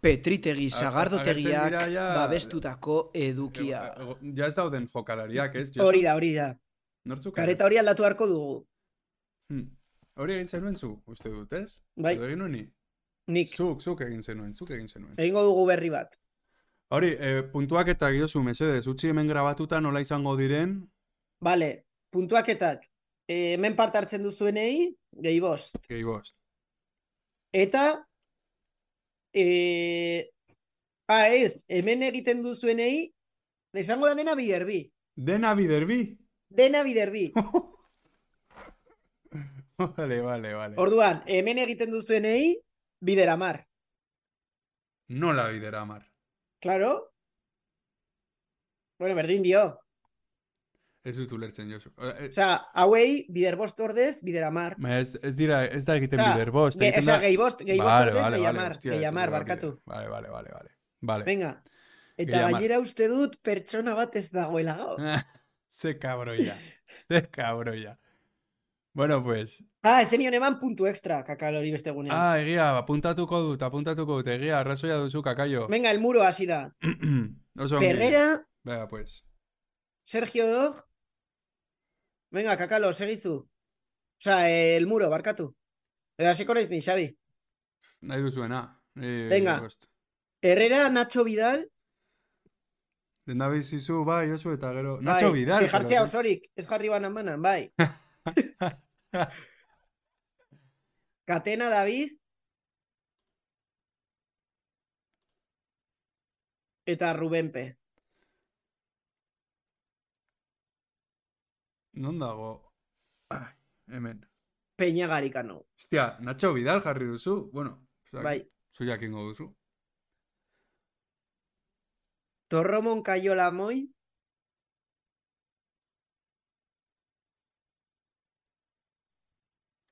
C: Petritegi
B: Ager-
C: sagardotegiak
B: agertzen dira ja-
C: babestutako edukia.
B: Ego- ego- eh, Ja ez dauden jokalariak, ez? Josu?
A: Hori da, hori da.
B: Nortzuk
A: Kareta hori aldatu beharko dugu.
B: Hmm. Hori egin zenuen zu, uste dut, ez?
A: Bai.
B: Edo egin nuen ni?
A: Nik,
B: Zuk, zuk egin zenuen, zuk egin zenuen.
A: egingo dugu berri bat.
B: Hori, eh, puntuak eta gidozu, mesedez, utzi hemen grabatuta nola izango diren,
A: Bale, puntuaketak. E, hemen parte hartzen duzuenei, gehi bost.
B: gehi bost.
A: Eta, e, ah, ez, hemen egiten duzuenei, esango da dena biderbi.
B: Dena biderbi?
A: Dena biderbi.
B: *laughs* vale, vale, vale.
A: Orduan, hemen egiten duzuenei, bideramar.
B: Nola bidera amar.
A: Claro? Bueno, berdin dio.
B: Ez dut ulertzen, Josu. Eh, eh,
A: Osea, hauei, biderbost ordez, bideramar.
B: Ez, ez dira, ez da egiten
A: Osea,
B: bider bost.
A: Ah, Ge,
B: egiten
A: esa,
B: da-
A: gehi bost, gehi bost
B: Vale,
A: ordez,
B: vale,
A: gehi
B: vale,
A: amar,
B: hostia,
A: gehi
B: ez
A: amar,
B: dut
A: barkatu.
B: Vale, vale, vale, vale. Vale.
A: Venga. Eta
B: Gehi amar. Ah.
A: gainera uste dut pertsona bat ez dagoela gaur.
B: *laughs* Ze cabroia. Ze cabroia. Bueno, pues.
A: Ah, esen nion eman puntu extra, kakal hori beste gunean.
B: Ah, egia, apuntatuko dut, apuntatuko dut, egia, arrazoia duzu, kakaio. *clears throat*
A: Venga, el muro hasi da.
B: Oso ongi.
A: Perrera,
B: Venga, pues.
A: Sergio Dog. Venga, kakalo, segizu. Osea, eh, el muro, barkatu. Eta hasiko naiz ni, Xabi.
B: Nahi duzuena. Eh,
A: Venga.
B: bost.
A: Herrera, Nacho Vidal.
B: Lehendabizi zu, bai, oso, eta gero... Nacho
A: bai,
B: Vidal.
A: eske jartzea
B: pero-
A: osorik, ez jarri banan banan,
B: *laughs*
A: bai. Katena, David. Eta Rubenpe.
B: Non dago? Ai, hemen.
A: Peñagarikano.
B: Hostia, Nacho Vidal jarri duzu. Bueno, zuak-
A: Bai.
B: zuiak ingo duzu.
A: Torromon Cayola Moy.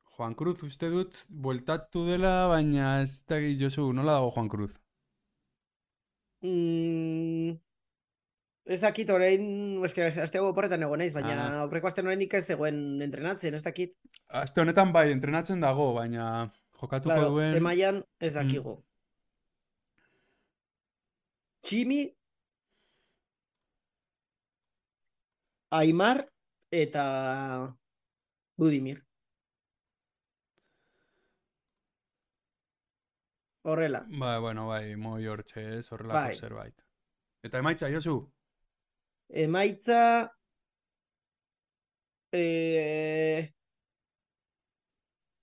B: Juan Cruz, uste dut, bueltatu dela, baina ez da Josu, nola dago Juan Cruz?
A: Mm, ez dakit orain, eske aste hau oporretan egon naiz, baina
B: Ah.
A: aurreko astean oraindik ez zegoen entrenatzen, ez dakit.
B: Aste honetan bai, entrenatzen dago, baina jokatuko
A: Claro,
B: duen...
A: ze mailan ez
B: Mm.
A: dakigu. Tximi, Aimar eta Budimir. Horrela.
B: Ba, bueno, bai, moi hortxe ez, horrelako
A: Bai.
B: zerbait. Eta emaitza, Josu?
A: Emaitza eh,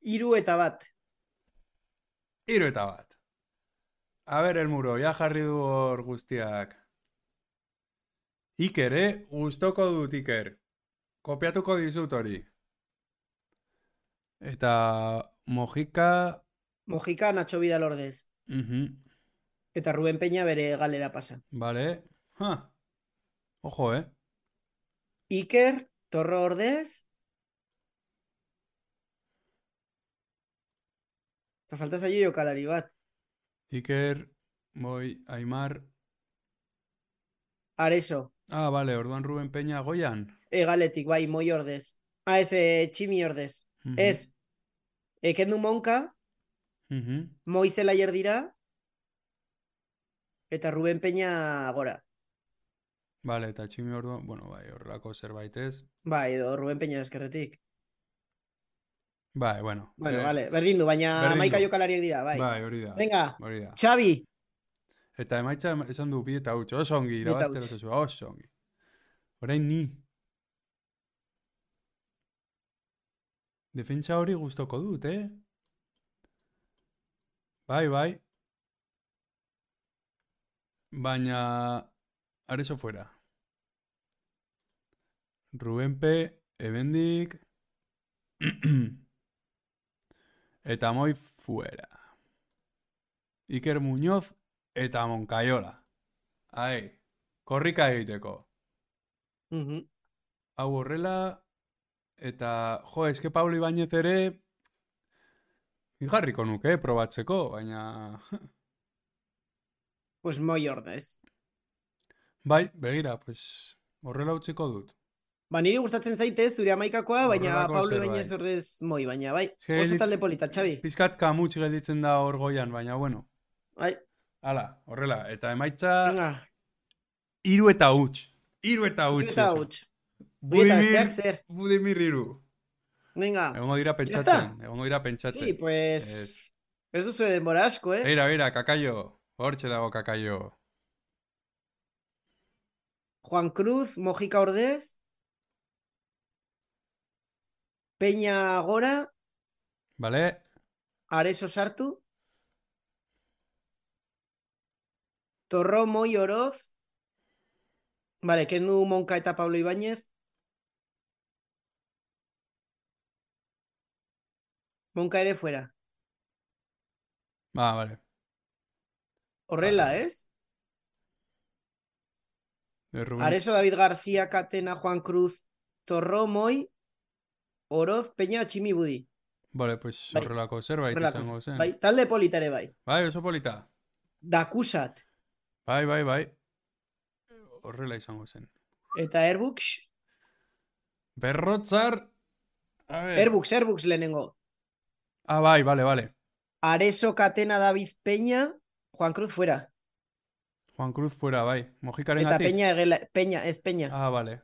A: hiru eta bat.
B: Hiru eta bat. A ber, el muro, ja jarri du hor guztiak. Iker, eh? Gustoko dut Iker. Kopiatuko dizut hori. Eta Mojika...
A: Mojika Nacho Vidal ordez.
B: Mhm,
A: Eta Rubén Peña bere galera pasa.
B: vale. Ha. Ojo, eh?
A: Iker, Torro ordez. Eta falta zaio jokalari bat.
B: Iker, Boi, Aimar.
A: Areso.
B: Ah, bale, orduan Ruben Peña goian.
A: Egaletik, bai, moi ordez. Ah, ez, eh, tximi ordez.
B: Mhm,
A: Ez. E, kendu monka,
B: mhm.
A: moi zelaier dira, eta Ruben Peña gora.
B: Bale, eta tximi orduan, bueno, bai, horrelako zerbait ez.
A: Bai, edo Ruben Peña eskerretik.
B: Bai, bueno.
A: Bueno,
B: eh,
A: vale, berdin du, baina
B: berdin
A: hamaika
B: du.
A: jokalariak dira, bai.
B: Bai, hori da.
A: Venga,
B: Hori da.
A: Xavi,
B: Eta emaitza em- esan du bi eta utxo, oso ongi
A: eta
B: irabazte
A: huts.
B: osasuna, oso ongi. Orain ni. Defentsa hori gustoko dut, eh? Bai, bai. Baina, areso fuera. Rubén P, Ebendik. *clears throat* Eta moi fuera. Iker Muñoz eta Moncayola. Ahí, korrika egiteko.
A: Ujú.
B: Hau horrela, eta jo, eske Pablo Ibañez ere igarriko nuke, eh, probatzeko, baina... *laughs*
A: pues moi ordez.
B: Bai, begira, pues horrela utziko dut.
A: Ba, niri gustatzen zaite zure amaikakoa, baina
B: Horrelako
A: Pablo
B: zerbait.
A: Ibañez ordez moi, baina bai,
B: Ze
A: oso
B: dit-
A: talde polita, Xavi.
B: Pizkat kamutx gelditzen da hor goian, baina bueno.
A: Bai,
B: Hala, horrela, eta emaitza
A: venga,
B: hiru eta huts. Hiru eta huts.
A: eta
B: eso.
A: huts. Bi eta besteak
B: Budimir,
A: zer,
B: Budimir hiru.
A: venga.
B: Egongo dira
A: está.
B: pentsatzen, egongo dira pentsatzen.
A: Sí, pues... Ez duzu denbora asko, eh?
B: Beira, beira, kakaio. Hortxe dago kakaio.
A: Juan Cruz, Mojica Ordez, Peña Gora,
B: Bale?
A: Areso Sartu, Torró Moy Oroz, vale, Kendu Monca eta Pablo Ibáñez, Monca ere fuera.
B: Ba, bale.
A: Horrela,
B: Vale.
A: ez?
B: Eh, Rubén,
A: Areso David García, Catena, Juan Cruz, Torró Moy, Oroz, Peña, Chimi Budi.
B: Bale, pues
A: Bai.
B: horrelako zerbait
A: Horrelako
B: izango zen.
A: Bai, talde polita ere bai.
B: Bai, oso polita.
A: Dakusat.
B: Bai, bai, bai. Horrela izango zen.
A: Eta Airbux,
B: Berrotzar... A ber.
A: Airbux, Airbux lehenengo.
B: Ah, bai, bale, bale.
A: Areso, Catena, David Peña, Juan Cruz fuera.
B: Juan Cruz fuera, bai. Mojikaren
A: Eta Peña, egela- Peña, ez Peña.
B: Ah, bale.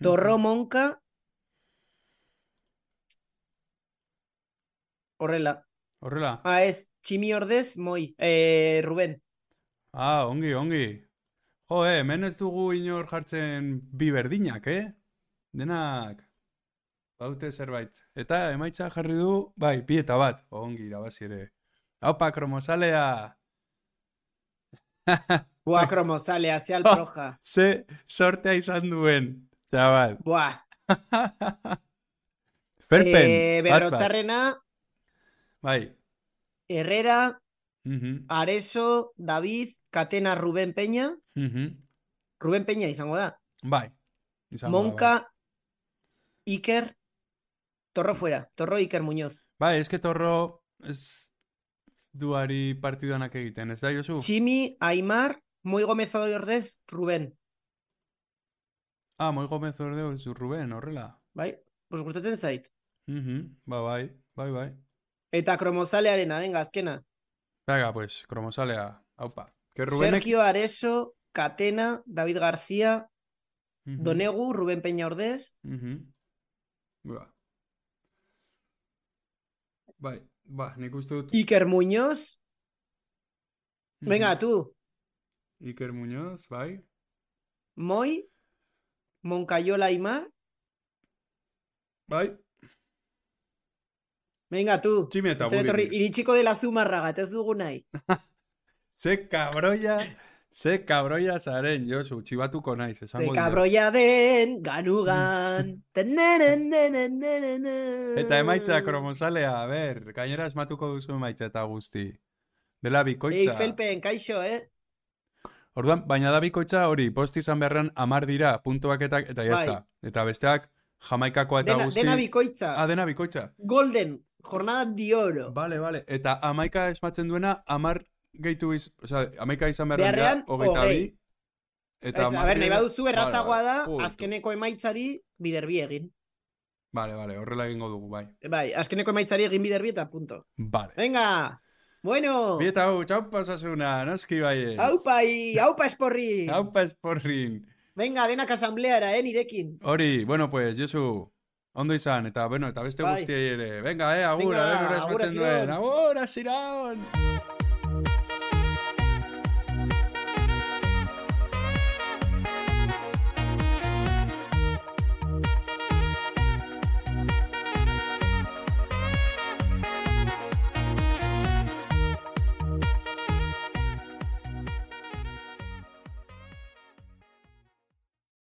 A: Torro Monka. Horrela.
B: Horrela.
A: Ah, ez, Tximi Ordez, Moi, eh, Rubén.
B: Ah, ongi, ongi. Jo, eh, hemen ez dugu inor jartzen bi berdinak, eh? Denak baute zerbait. Eta emaitza jarri du, bai, bi eta bat. Ongi, irabazi ere. Haupa, kromozalea!
A: Buah, cromosale, hacia
B: *laughs* Oh.
A: el proja.
B: Ze sortea izan duen, txabal.
A: Buah.
B: Ferpen,
A: Eh,
B: bat bat.
A: Berrotzarrena,
B: Bai.
A: Herrera,
B: Mhm,
A: Areso, David, Catena, Rubén Peña.
B: mhm.
A: Rubén Peña izango da.
B: Bai. Izango da, bai.
A: Monka, Iker, Torro fuera, Torro Iker Muñoz.
B: Bai, eske torro ez duari partidanak egiten, ez da, Josu?
A: Chimi, Aymar, Muy Gómez Ordez, Rubén.
B: Ah, moi gomez orde zu Ruben, horrela.
A: Bai? Pues gustatzen zait.
B: Mhm, ba, bai, bai, bai.
A: Eta kromozalearena, venga, azkena.
B: Venga, pues, kromozalea, haupa. Que Rubenek...
A: Sergio Areso, Catena, David García,
B: Mhm,
A: Donegu, Rubén Peña Ordez.
B: mhm. Ba. Bai, ba, nik uste dut...
A: Iker Muñoz.
B: Mhm.
A: Venga, tú.
B: Iker Muñoz, bai.
A: Moy, Moncayola Aymar.
B: Bai.
A: Venga, tú.
B: Tximi eta
A: Este etorri-
B: Budimir.
A: iritsiko dela Zumarraga, eta ez dugu nahi.
B: Ze kabroia, ze kabroia zaren, Josu, txibatuko naiz,
A: Ze
B: esango dut.
A: kabroia den,
B: *laughs*
A: ganugan.
B: Eta
A: Eta
B: emaitza kromozalea, a ber, gainera esmatuko duzu emaitza eta guzti. Dela
A: Ei,
B: bikoitza.
A: Felpen, kaixo, eh?
B: Orduan, baina da bikoitza hori, post izan beharrean amar dira, puntuak eta, eta
A: Bai.
B: jazta. Eta besteak, jamaikakoa eta
A: Dena,
B: guzti.
A: dena bikoitza.
B: Ah, dena bikoitza.
A: Golden. Jornada de oro.
B: Bale, bale. Eta amaika esmatzen duena, amar gehitu iz... Osa, amaika izan behar dira,
A: Beharrean,
B: hogeita bi.
A: hogei. Ez, a
B: hamar
A: ber, nahi
B: dira-
A: baduzu
B: Bale,
A: errazagoa da,
B: bale. Justo.
A: azkeneko emaitzari biderbi egin.
B: Bale, bale, horrela egingo dugu, bai.
A: Bai, azkeneko emaitzari egin biderbi eta punto.
B: Bale.
A: Venga, bueno,
B: Bieta hau, txaupa sasuna, noski bai.
A: haupa i, haupa esporri.
B: Haupa esporrin.
A: Venga, denak asambleara, eh, nirekin.
B: Hori, bueno, pues, Josu, ondo izan, eta, bueno, eta beste
A: Bai.
B: guztiei ere. Venga, eh, agur,
A: Venga, agur,
B: agur, agur,
A: Asiron.
B: agur, agur, agur,